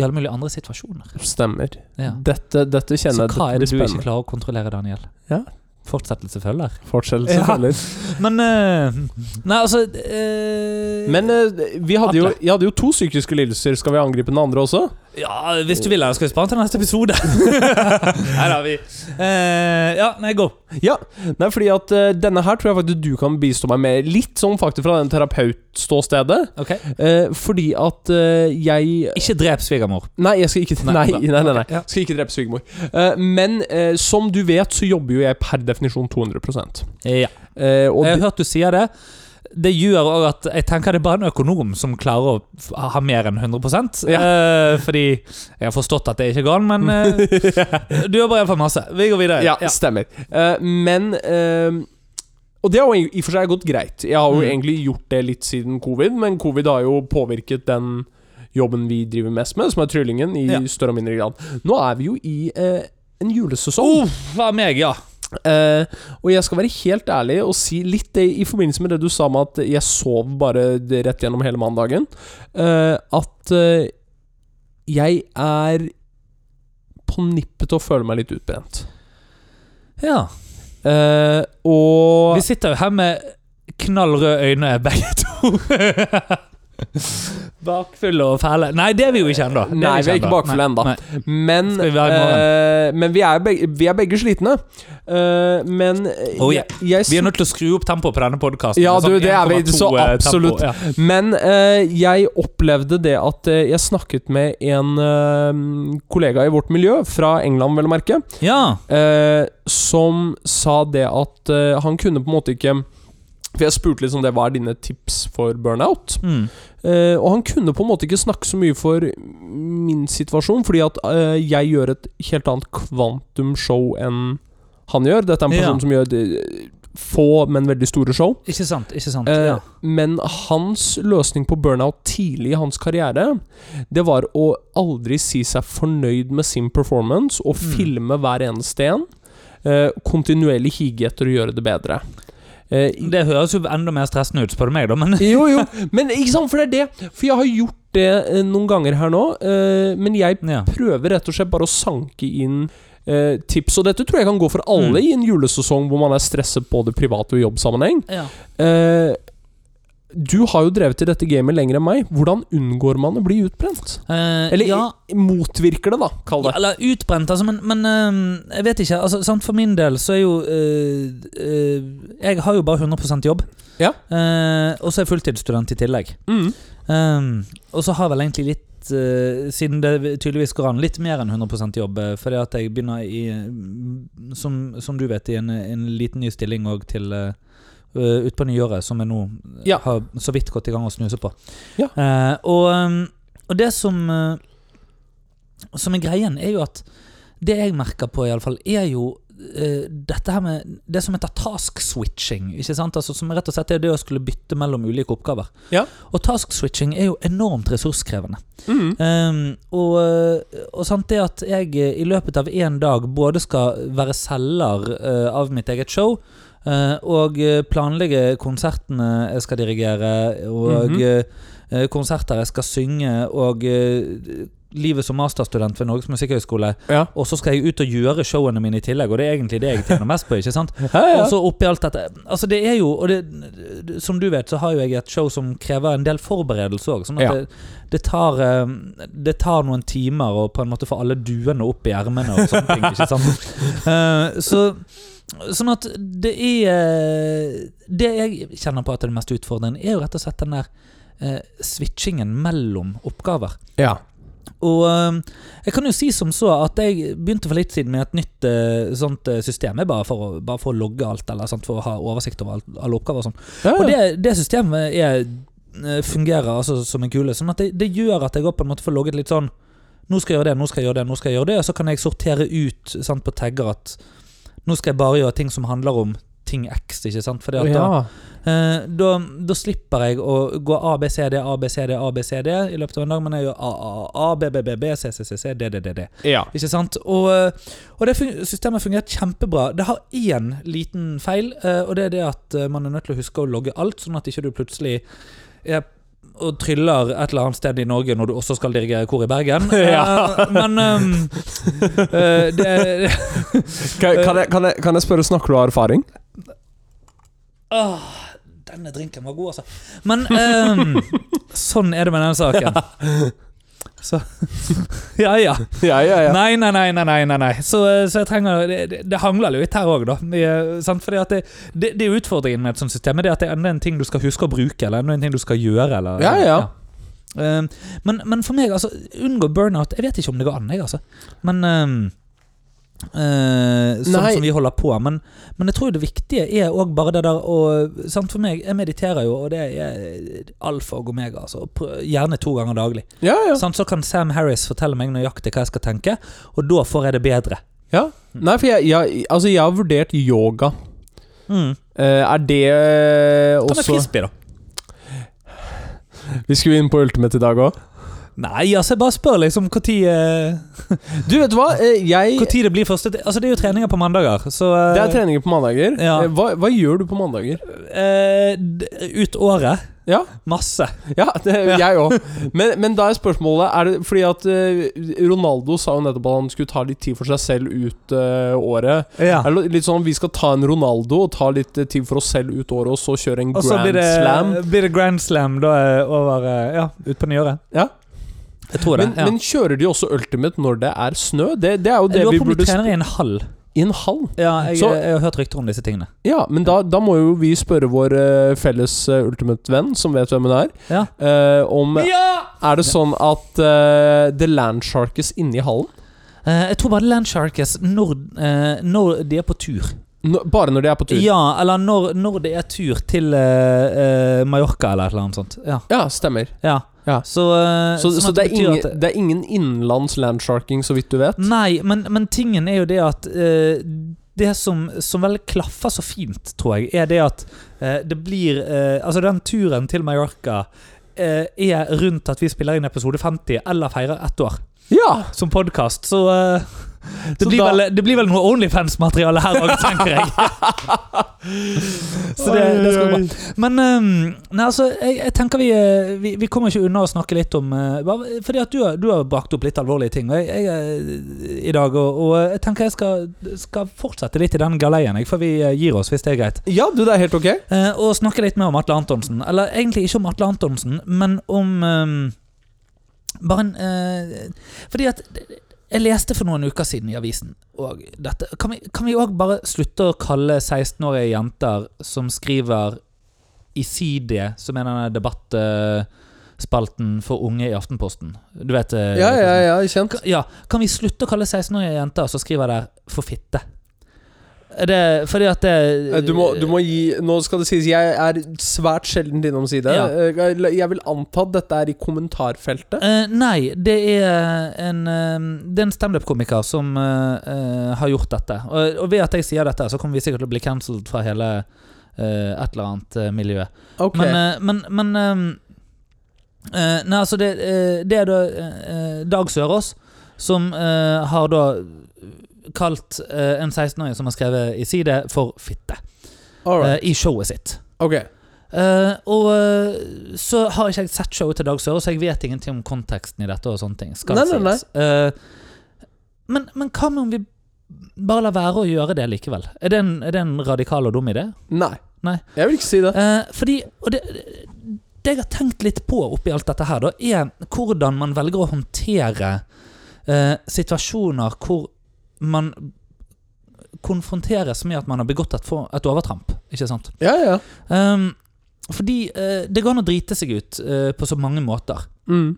A: i alle mulige andre situasjoner.
B: Stemmer.
A: Ja.
B: Dette,
A: eh,
B: dette
A: Så
B: kjenner jeg
A: hva er det
B: dette
A: du
B: blir
A: ikke klarer å kontrollere, Daniel?
B: Ja.
A: Fortsettelse følger.
B: Fortsettelse
A: Ja.
B: følger.
A: Men eh, Nei, altså eh,
B: Men eh, vi hadde jo,
A: Atle.
B: jeg hadde jo to psykiske lidelser. Skal vi angripe den andre også?
A: Ja, hvis du vil, eller skal vi spare den til neste episode? nei da, vi eh, Ja, nei, gå.
B: Ja, nei, fordi at eh, denne her tror jeg faktisk du kan bistå meg med. Litt sånn faktisk fra den terapeutståstedet.
A: Ok
B: Eh, fordi at eh, jeg
A: Ikke drep svigermor.
B: Nei, jeg skal ikke
A: Nei,
B: Nei, nei,
A: bra.
B: nei. nei,
A: Ok, ja.
B: Skal ikke drepe svigermor. Eh, men eh, som du vet, så jobber jo jeg per definisjon 200
A: Ja.
B: eh, og
A: Jeg
B: det,
A: har hørt du sier det. Det gjør òg at jeg tenker det er bare en økonom som klarer å f- ha mer enn 100
B: Ja.
A: eh, Fordi jeg har forstått at det ikke går an, men eh, du jobber iallfall masse. Vi går videre.
B: ja, stemmer. Eh, men eh, Og det har jo i og for seg gått greit. Jeg har jo
A: Mm.
B: egentlig gjort det litt siden covid, men covid har jo påvirket den jobben vi driver mest med, som er tryllingen, i
A: Ja.
B: større og mindre grad. Nå er vi jo i eh, en julesesong.
A: Uff, hva meg, ja.
B: Eh, og jeg skal være helt ærlig og si litt det i forbindelse med det du sa med at jeg sov bare rett gjennom hele mandagen. eh, at eh, jeg er på nippet til å føle meg litt utbrent.
A: ja.
B: Eh, og
A: Vi sitter jo her med knallrøde øyne, begge to. bakfulle og fæle. Nei, det er vi jo ikke ennå. Det
B: Nei, vi er ikke
A: ennå.
B: bakfulle
A: Nei,
B: ennå.
A: nei.
B: Men,
A: Skal vi være i
B: eh, men vi, er begge, vi er begge slitne. Eh, men eh,
A: Oh, yeah.
B: jeg, jeg
A: Vi er nødt til å skru opp tempoet på denne podkasten.
B: Ja, du, det er vi så absolutt.
A: eh, Ja.
B: Men eh, jeg opplevde det at eh, jeg snakket med en eh, kollega i vårt miljø, fra England vel å merke,
A: ja.
B: eh, som sa det at eh, han kunne på en måte ikke For jeg spurte litt sånn det, hva er dine tips for burnout?
A: Mm.
B: Eh, og han kunne på en måte ikke snakke så mye for min situasjon, fordi at eh, jeg gjør et helt annet kvantumshow enn han gjør. Dette er en person
A: Ja.
B: som gjør eh, få, men veldig store show.
A: Ikke sant. ikke sant
B: Eh,
A: ja.
B: Men hans løsning på burnout tidlig i hans karriere, det var å aldri si seg fornøyd med sin performance og
A: Mm.
B: filme hver eneste en. eh, kontinuerlig hige etter å gjøre det bedre. Eh, i-
A: Det høres jo enda mer stressende ut, spør du meg, da, men
B: jo, jo, men ikke sant, for det er det. For jeg har gjort det eh, noen ganger her nå, eh, men jeg
A: ja.
B: prøver rett og slett bare å sanke inn eh, tips. Og dette tror jeg kan gå for alle i en julesesong hvor man er stresset både privat og i jobbsammenheng.
A: Ja.
B: Eh, du har jo drevet i dette gamet lenger enn meg. Hvordan unngår man å bli utbrent?
A: Eh,
B: Eller
A: ja.
B: i- motvirker det, da, kall
A: Ja,
B: det.
A: eller utbrent, altså, men, men eh, jeg vet ikke. Altså, sant, for min del så er jo eh, eh, Jeg har jo bare 100 jobb.
B: Ja.
A: Eh, og så er jeg fulltidsstudent i tillegg.
B: Mm.
A: Ehm, og så har jeg vel egentlig litt eh, siden det tydeligvis går an, litt mer enn 100 jobb. eh, Fordi at jeg begynner i eh, Som, som du vet, i en, en liten ny stilling òg til eh, eh, utpå nyåret, som jeg nå eh,
B: Ja.
A: har så vidt gått i gang å snuse på.
B: Ja.
A: Eh, og, ehm, og det som eh, Som er greien, er jo at det jeg merker på, iallfall, er jo eh, dette her med Det som heter task switching, ikke sant? Altså, som rett og slett er det å skulle bytte mellom ulike oppgaver.
B: Ja.
A: Og task switching er jo enormt ressurskrevende.
B: Mm.
A: Ehm, og, eh, og sant det at jeg eh, i løpet av én dag både skal være selger eh, av mitt eget show, eh, og eh, planlegge konsertene jeg skal dirigere, og
B: Mhm.
A: eh, konserter jeg skal synge, og eh, livet som masterstudent ved Norges musikkhøgskole,
B: Ja.
A: og så skal jeg ut og gjøre showene mine i tillegg, og det er egentlig det jeg tjener mest på, ikke sant?
B: Ja, ja.
A: Og så oppi alt dette Altså det er jo og det, Som du vet, så har jo jeg et show som krever en del forberedelse òg. Sånn at
B: Ja.
A: det, det, tar, eh, det tar noen timer å på en måte få alle duene opp i ermene og sånne ting. Ikke sant? Eh, så Sånn at det er eh, Det jeg kjenner på at er det mest utfordrende, er jo rett og slett den der eh, switchingen mellom oppgaver.
B: ja.
A: Og øhm, jeg kan jo si som så at jeg begynte for litt siden med et nytt øh, sånt øh, system. Jeg bare for, å, bare for å logge alt, eller sant, for å ha oversikt over alt, alle oppgaver og sånn.
B: ja.
A: Og det, det systemet er, øh, fungerer altså som en kule. Sånn at det, det gjør at jeg også på en måte får logget litt sånn Nå skal jeg gjøre det, nå skal jeg gjøre det, nå skal jeg gjøre det. Og så kan jeg sortere ut sant, på tagger at nå skal jeg bare gjøre ting som handler om ting X, ikke sant. Fordi at da,
B: ja.
A: Eh, da, da slipper jeg å gå A, B, C, D, A, B, C, D, A, B, C, D i løpet av en dag, men jeg gjør A, A, A, A, B, B, B, B, C, C, C, C, D, D, D, D.
B: ja.
A: Ikke sant? Og, eh, og det fun systemet fungerte kjempebra. Det har én liten feil, eh, og det er det at eh, man er nødt til å huske å logge alt, sånn at ikke du plutselig er og tryller et eller annet sted i Norge når du også skal dirigere kor i Bergen.
B: Ja.
A: Eh, Men eh, eh, det,
B: Kan, kan, jeg, kan, jeg, kan jeg spørre, snakker du av erfaring?
A: Åh, denne drinken var god, altså. Men ehm, sånn er det med den saken. Så Ja, ja.
B: Ja, ja,
A: Nei, nei, nei. nei, nei, nei, nei. Så, eh, så jeg trenger Det, det- det hangler litt her òg, da. Det, er- sant? Fordi at det, det, det er utfordringen med et sånt system. Det er at det er enda en ting du skal huske å bruke, eller enda en ting du skal gjøre. Eller,
B: Ja, ja.
A: Ehm, men, men for meg, altså, unngå burnout Jeg vet ikke om det går an, jeg, altså. Men ehm, eh, Sånn
B: Nei.
A: som vi holder på. Men, men jeg tror det viktige er òg bare det der å sant, For meg, jeg mediterer jo, og det er alfa og omega. Altså, og prø- gjerne to ganger daglig.
B: ja, ja.
A: Sant, så kan Sam Harris fortelle meg nøyaktig hva jeg skal tenke, og da får jeg det bedre.
B: Nei, for jeg, jeg, altså, jeg har vurdert yoga.
A: Mm.
B: Eh, er det eh,
A: Ta med
B: også
A: frisbee, da.
B: Vi skulle inn på Ultimate i dag òg.
A: Nei, altså, jeg bare spør liksom når
B: Du, vet du hva? Eh, jeg
A: det blir første Altså, det er jo treninger på mandager, så eh,
B: Det er treninger på mandager.
A: Ja.
B: Eh, Hva, hva gjør du på mandager?
A: eh, d- Ut året.
B: Ja,
A: Masse.
B: ja det,
A: Ja.
B: jeg òg. Men, men da er spørsmålet er det fordi at eh, Ronaldo sa jo nettopp at han skulle ta litt tid for seg selv ut eh, året.
A: Ja.
B: Er det litt sånn vi skal ta en Ronaldo og ta litt eh, tid for oss selv ut året, og så kjøre en
A: Og så
B: grand
A: blir det,
B: slam?
A: blir det grand slam da eh, over eh, Ja, utpå nyåret.
B: Ja.
A: Jeg tror det.
B: Men, men kjører de også Ultimate når det er snø? Det, det er jo
A: jeg
B: det
A: lurer
B: vi
A: på om de
B: burde
A: trener i en hall.
B: I en hall?
A: Ja, jeg,
B: Så-
A: jeg har hørt rykter om disse tingene.
B: Ja, men da, da må jo vi spørre vår eh, felles eh, Ultimate-venn, som vet hvem hun er,
A: Ja.
B: eh, om
A: ja!
B: Er det sånn at eh, det landsharkes inni hallen?
A: Eh, jeg tror bare Landsharkes når, eh, når de er på tur.
B: Nå- bare når de er på tur?
A: Ja, eller når, når det er tur til eh, eh, Mallorca eller et eller annet sånt. Ja.
B: Ja, stemmer.
A: ja.
B: Ja.
A: Så, eh,
B: Så,
A: sånn
B: så
A: at
B: det, er
A: betyr
B: ingen,
A: at-
B: det er ingen innenlands landsharking, så vidt du vet?
A: Nei, men, men tingen er jo det at eh, Det som, som vel klaffer så fint, tror jeg, er det at eh, det blir eh, Altså, den turen til Mallorca eh, er rundt at vi spiller inn episode 50 eller feirer ett år
B: Ja!
A: som podkast, så eh, det,
B: Så
A: blir
B: da-
A: vel, det blir vel noe Onlyfans-materiale her òg, tenker jeg. Så det, det skal gå bra. Men ehm, nei, altså, jeg, jeg tenker vi, eh, vi Vi kommer ikke unna å snakke litt om eh, hva- Fordi at du, har- du har brakt opp litt alvorlige ting og jeg, jeg, eh, i dag, og, og jeg tenker jeg skal, skal fortsette litt i den galeien, jeg, før vi eh, gir oss, hvis det er greit.
B: Ja, du, det er helt ok.
A: Eh, og snakke litt mer om Atle Antonsen. Eller egentlig ikke om Atle Antonsen, men om ehm, Bare en eh, Fordi at jeg leste for noen uker siden i avisen og dette Kan vi- kan vi òg bare slutte å kalle 16-årige jenter som skriver i Sidie, som er denne debattspalten for unge i Aftenposten Du vet eh,
B: Ja, ja, ja, kjent.
A: Ka- Ja, kan vi slutte å kalle 16-årige jenter som skriver der, for fitte? Det, fordi at det
B: Eh, Du må, du må gi Nå skal det sies, jeg er svært sjelden innom side.
A: Ja.
B: Eh, Jeg vil anta at dette er i kommentarfeltet.
A: Eh, nei, det er en, eh, det er en standup-komiker som eh, eh, har gjort dette. Og, og ved at jeg sier dette, så kommer vi sikkert til å bli cancelled fra hele eh, et eller annet eh, miljø.
B: Ok.
A: Men, eh, men, men eh, eh, Nei, altså, det, eh, det er da eh, Dag Sørås som eh, har da kalt eh, en 16-åring som har skrevet i side, for fitte.
B: Alright.
A: eh, I showet sitt.
B: Ok.
A: Eh, og eh, så har ikke jeg sett showet til Dag Sørås, så jeg vet ingenting om konteksten i dette. og sånne ting skal
B: Nei, nei,
A: sies. Eh, men, men hva med om vi bare lar være å gjøre det likevel? Er det en, er det en radikal og dum idé?
B: Nei.
A: Nei.
B: Jeg vil ikke si det.
A: Eh, fordi og det, det jeg har tenkt litt på oppi alt dette her, da, er hvordan man velger å håndtere eh, situasjoner hvor man konfronteres med at man har begått et, for, et overtramp. Ikke sant?
B: Ja, ja.
A: Ehm, fordi eh, det går an å drite seg ut eh, på så mange måter.
B: Mm.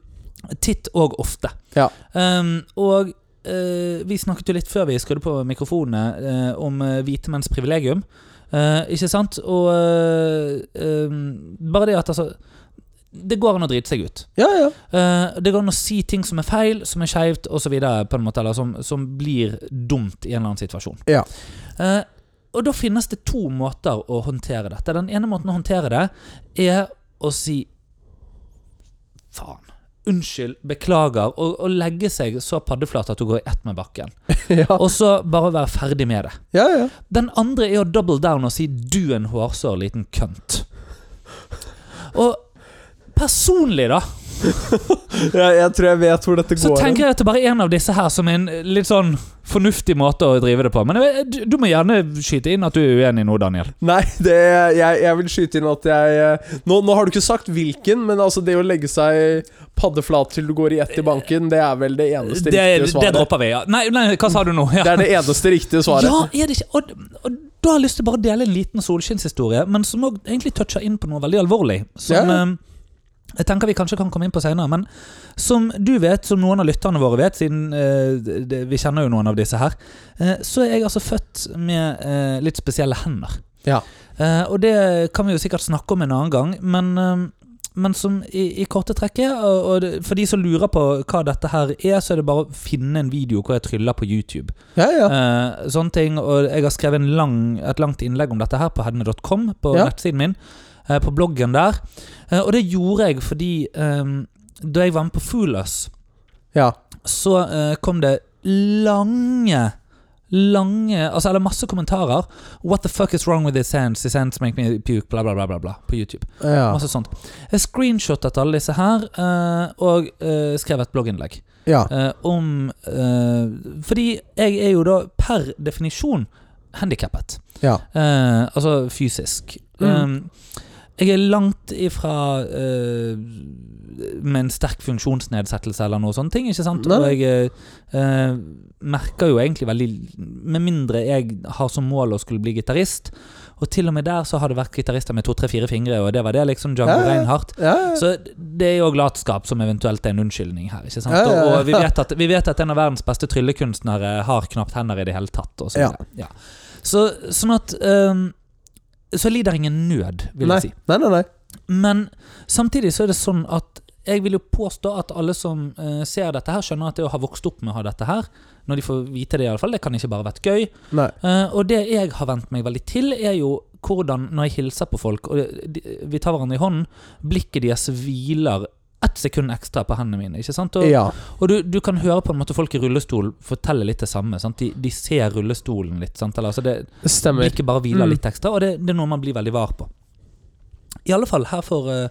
A: Titt og ofte.
B: Ja.
A: Ehm, og eh, vi snakket jo litt før vi skrudde på mikrofonene eh, om eh, hvite menns privilegium. Eh, ikke sant? Og eh, ehm, bare det at altså Det går an å drite seg ut.
B: Ja, ja.
A: Eh, det går an å si ting som er feil, som er skeivt osv., eller som, som blir dumt i en eller annen situasjon.
B: Ja.
A: Eh, og da finnes det to måter å håndtere dette. Den ene måten å håndtere det er å si faen. Unnskyld, beklager, og, og legge seg så paddeflat at du går i ett med bakken.
B: Ja,
A: Og så bare være ferdig med det.
B: ja. ja.
A: Den andre er å double down og si 'du er en hårsår liten kønt'. Og personlig, da,
B: ja jeg tror jeg vet hvor dette
A: Så
B: går. hen.
A: tenker jeg at det bare er en av disse her som er en litt sånn fornuftig måte å drive det på. Men jeg- du, du må gjerne skyte inn at du er uenig nå, Daniel.
B: Nei, det, jeg, jeg vil skyte inn at jeg eh, nå, nå har du ikke sagt hvilken, men altså det å legge seg paddeflat til du går i ett i banken, det er vel det eneste
A: Det,
B: riktige
A: det
B: svaret.
A: dropper vi, ja. Nei, nei, hva sa du nå? Ja.
B: Det er det eneste riktige svaret.
A: Ja, er det ikke? Og, og da har jeg lyst til å bare dele en liten solskinnshistorie, men som òg egentlig toucher inn på noe veldig alvorlig. Som
B: Ja.
A: eh, jeg tenker vi kanskje kan komme inn på seinere. Men som du vet, som noen av lytterne våre vet, siden eh, det- det, vi kjenner jo noen av disse her, eh, så er jeg altså født med eh, litt spesielle hender.
B: Ja.
A: Eh, og det kan vi jo sikkert snakke om en annen gang, men eh, men som i, i korte trekket, og, og det, for de som lurer på hva dette her er, så er det bare å finne en video hvor jeg tryller på YouTube.
B: Ja, ja.
A: Eh, sånne ting, og jeg har skrevet en lang, et langt innlegg om dette her på hedne.com, på
B: Ja.
A: nettsiden min, eh, på bloggen der. Eh, og det gjorde jeg fordi eh, da jeg var med på Foolus,
B: ja.
A: så eh, kom det lange Lange, altså eller masse kommentarer. 'What the fuck is wrong with his hands? His hands make me puke', bla, bla, bla, bla, bla på YouTube.
B: ja.
A: Masse sånt. Jeg screenshottet alle disse her, eh, og eh, skrev et blogginnlegg.
B: ja.
A: Eh, om eh, Fordi jeg er jo da per definisjon handikappet.
B: Ja.
A: Eh, altså fysisk.
B: Mm.
A: Eh, jeg er langt ifra eh, med en sterk funksjonsnedsettelse eller noe sånne ting. ikke sant?
B: Nei.
A: Og jeg eh, merker jo egentlig veldig Med mindre jeg har som mål å skulle bli gitarist, og til og med der så har det vært gitarister med to-tre-fire fingre, og det var det, liksom. Django
B: Ja, ja.
A: Reinhardt.
B: ja.
A: Så det er jo latskap som eventuelt er en unnskyldning her. ikke sant?
B: Ja, ja, ja.
A: Og vi vet, at, vi vet at en av verdens beste tryllekunstnere har knapt hender i det hele tatt. Og så
B: Ja.
A: videre. Ja. Så, sånn at ehm, Så jeg lider ingen nød, vil
B: nei.
A: jeg si.
B: nei, nei, nei.
A: Men samtidig så er det sånn at jeg vil jo påstå at alle som eh, ser dette her, skjønner at det å ha vokst opp med å ha dette her, når de får vite det, i alle fall, det kan ikke bare vært gøy.
B: nei.
A: Eh, og det jeg har vent meg veldig til, er jo hvordan, når jeg hilser på folk, og de, vi tar hverandre i hånden, blikket deres hviler ett sekund ekstra på hendene mine. ikke sant? Og,
B: Ja.
A: og du, du kan høre på en måte folk i rullestol fortelle litt det samme. sant? De, de ser rullestolen litt. sant? Eller, altså det,
B: Stemmer.
A: blikket bare hviler
B: Mm.
A: litt ekstra, og det, det er noe man blir veldig var på. I alle fall her for, eh,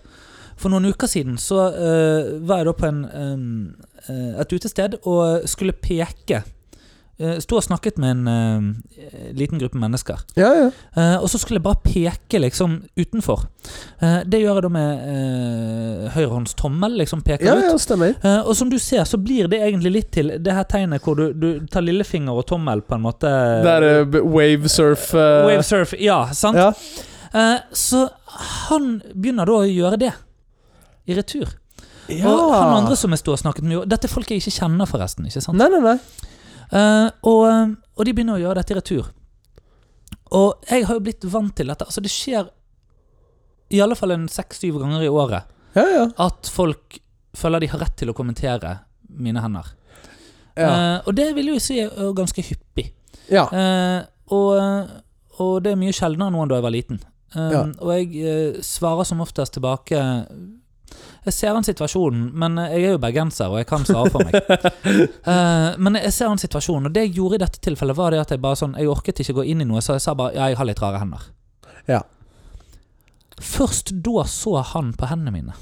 A: for noen uker siden så eh, var jeg da på en, eh, eh, et utested og skulle peke. Uh, Sto og snakket med en eh, liten gruppe mennesker.
B: Ja, ja.
A: Eh, og så skulle jeg bare peke liksom utenfor. Eh, det gjør jeg da med uh, høyrehåndstommel. Liksom peker
B: Ja,
A: ut.
B: ja, stemmer.
A: Eh, og som du ser, så blir det egentlig litt til det her tegnet hvor du, du tar lillefinger og tommel på en måte.
B: Det er eh, b- wavesurf eh,
A: Wavesurf, ja, sant?
B: Ja.
A: Eh, så han begynner da å gjøre det i retur.
B: ja.
A: Og han andre som jeg sto og snakket med Dette er folk jeg ikke kjenner, forresten. ikke sant?
B: Nei, nei, nei.
A: Eh, og, og de begynner å gjøre dette i retur. Og jeg har jo blitt vant til dette. Altså, det skjer i alle fall en seks-syv ganger i året
B: Ja, ja.
A: at folk føler de har rett til å kommentere mine hender.
B: Ja.
A: Eh, og det vil jeg jo si er jo ganske hyppig.
B: ja.
A: Eh, og, og det er mye sjeldnere nå enn da jeg var liten. Eh,
B: Ja.
A: Og jeg eh, svarer som oftest tilbake Jeg ser an situasjonen, men eh, jeg er jo bergenser, og jeg kan svare for meg. Eh, men jeg ser an situasjonen, og det jeg gjorde i dette tilfellet, var det at jeg bare sånn Jeg orket ikke gå inn i noe, så jeg sa bare ja, jeg har litt rare hender.
B: Ja.
A: Først da så han på hendene mine,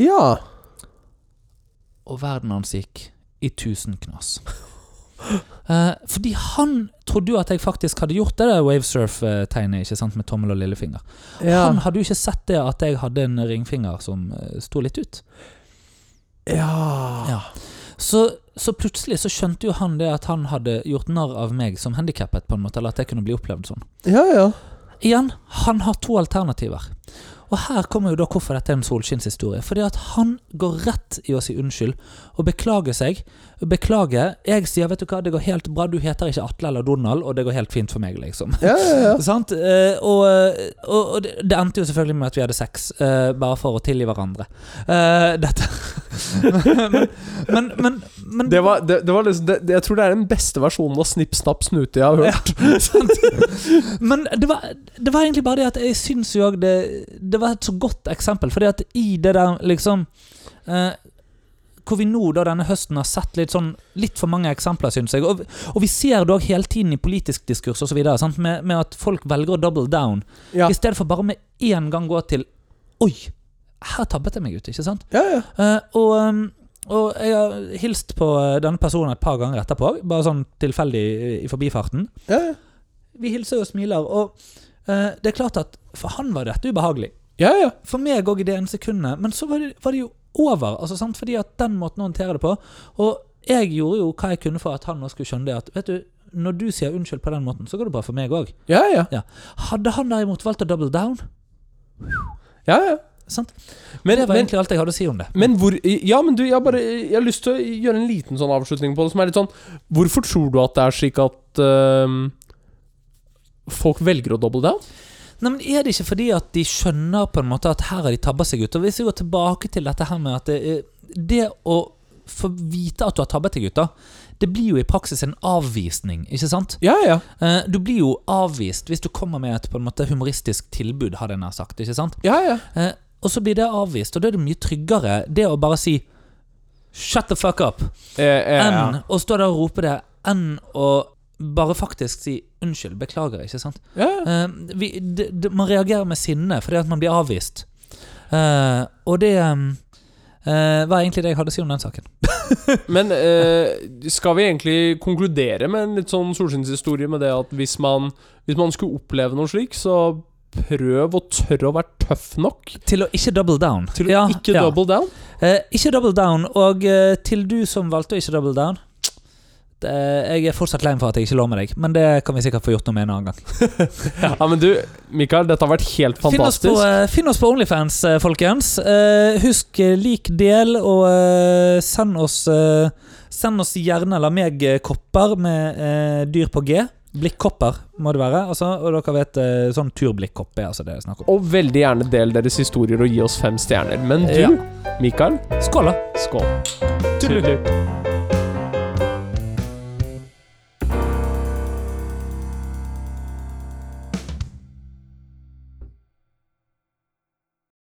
B: ja.
A: og verden hans gikk i tusen knas. Eh, fordi han trodde jo at jeg faktisk hadde gjort det der wavesurf-tegnet ikke sant, med tommel og lillefinger.
B: Ja.
A: Han hadde jo ikke sett det at jeg hadde en ringfinger som eh, sto litt ut.
B: ja.
A: Ja. Så, så plutselig så skjønte jo han det at han hadde gjort narr av meg som handikappet, på en måte, eller at jeg kunne bli opplevd sånn.
B: Ja, ja.
A: Igjen, han har to alternativer. Og her kommer jo da hvorfor dette er en solskinnshistorie. Fordi at han går rett i å si unnskyld og beklage seg. Beklage. Jeg sier 'vet du hva, det går helt bra, du heter ikke Atle eller Donald', og det går helt fint for meg, liksom.
B: Ja, ja, ja.
A: Sant? Eh, og, og, og det det endte jo selvfølgelig med at vi hadde sex, eh, bare for å tilgi hverandre. Eh, dette men, men, men, men
B: Det var, det, det var liksom, det, det, jeg tror det er den beste versjonen av Snipp, snapp, snute jeg har hørt.
A: Sant? Men det var, det var egentlig bare det at jeg syns jo òg det, det var et så godt eksempel. Fordi at i det der liksom eh, Hvor vi nå da denne høsten har sett litt sånn litt for mange eksempler, syns jeg. Og, og vi ser det òg hele tiden i politisk diskurs osv. Med, med at folk velger å double down.
B: Ja.
A: I stedet for bare med én gang gå til Oi, her tabbet jeg meg ut, ikke sant?
B: Ja, ja.
A: Eh, og, um, og jeg har hilst på eh, denne personen et par ganger etterpå, bare sånn tilfeldig i, i forbifarten
B: ja, ja.
A: vi hilser og smiler, og eh, det er klart at for han var dette ubehagelig.
B: ja, ja.
A: For meg òg i det ene sekundet, men så var det, var det jo over. Altså, sant? Fordi at den måten å håndtere det på. Og jeg gjorde jo hva jeg kunne for at han nå skulle skjønne det at vet du, når du sier unnskyld på den måten, så går det bra for meg òg.
B: ja, ja.
A: Hadde han derimot valgt å double down,
B: ja, ja.
A: sant?
B: Men,
A: det var
B: men,
A: egentlig alt jeg hadde å si om det.
B: men hvor Ja, men du, jeg, har bare, jeg har lyst til å gjøre en liten sånn avslutning på det, som er litt sånn Hvorfor tror du at det er slik at øhm, folk velger å double down?
A: Nei, men Er det ikke fordi at de skjønner på en måte at her har de tabba seg ut? Og Hvis vi går tilbake til dette her med at det, er- det å få vite at du har tabbet deg ut, da, det blir jo i praksis en avvisning, ikke sant?
B: Ja, ja.
A: Eh, Du blir jo avvist hvis du kommer med et på en måte humoristisk tilbud, hadde jeg nær sagt. ikke sant?
B: Ja, ja.
A: Eh, Og så blir det avvist, og da er det mye tryggere det å bare si 'shut the fuck up'
B: Eh, eh, ja.
A: enn å stå der og rope det, enn å bare faktisk si 'unnskyld, beklager', ikke sant?
B: ja, ja.
A: Eh, vi, d, d, man reagerer med sinne fordi at man blir avvist. Eh, og det um, eh, var egentlig det jeg hadde å si om den saken.
B: Men eh, skal vi egentlig konkludere med en litt sånn solskinnshistorie med det at hvis man, hvis man skulle oppleve noe slik, så prøv å tørre å være tøff nok
A: Til å ikke double down.
B: til å
A: Ja,
B: ikke
A: ja.
B: double down.
A: Eh, ikke double down, og eh, til du som valgte å ikke double down det, Jeg er fortsatt lei meg for at jeg ikke lå med deg, men det kan vi sikkert få gjort noe med en annen gang.
B: Ja, men du, Mikael, dette har vært helt
A: Finn oss,
B: fantastisk.
A: på, eh, finn oss på Onlyfans, eh, folkens. Eh, husk eh, lik del, og eh, send oss eh, Send oss gjerne eller meg eh, kopper med eh, dyr på G. Blikkopper må det være. Altså, og dere vet eh, sånn turblikkkopp er altså det det er snakk om.
B: Og veldig gjerne del deres historier og gi oss fem stjerner. Men du,
A: Ja.
B: Mikael,
A: Skål, da!
B: skål. Tudelu.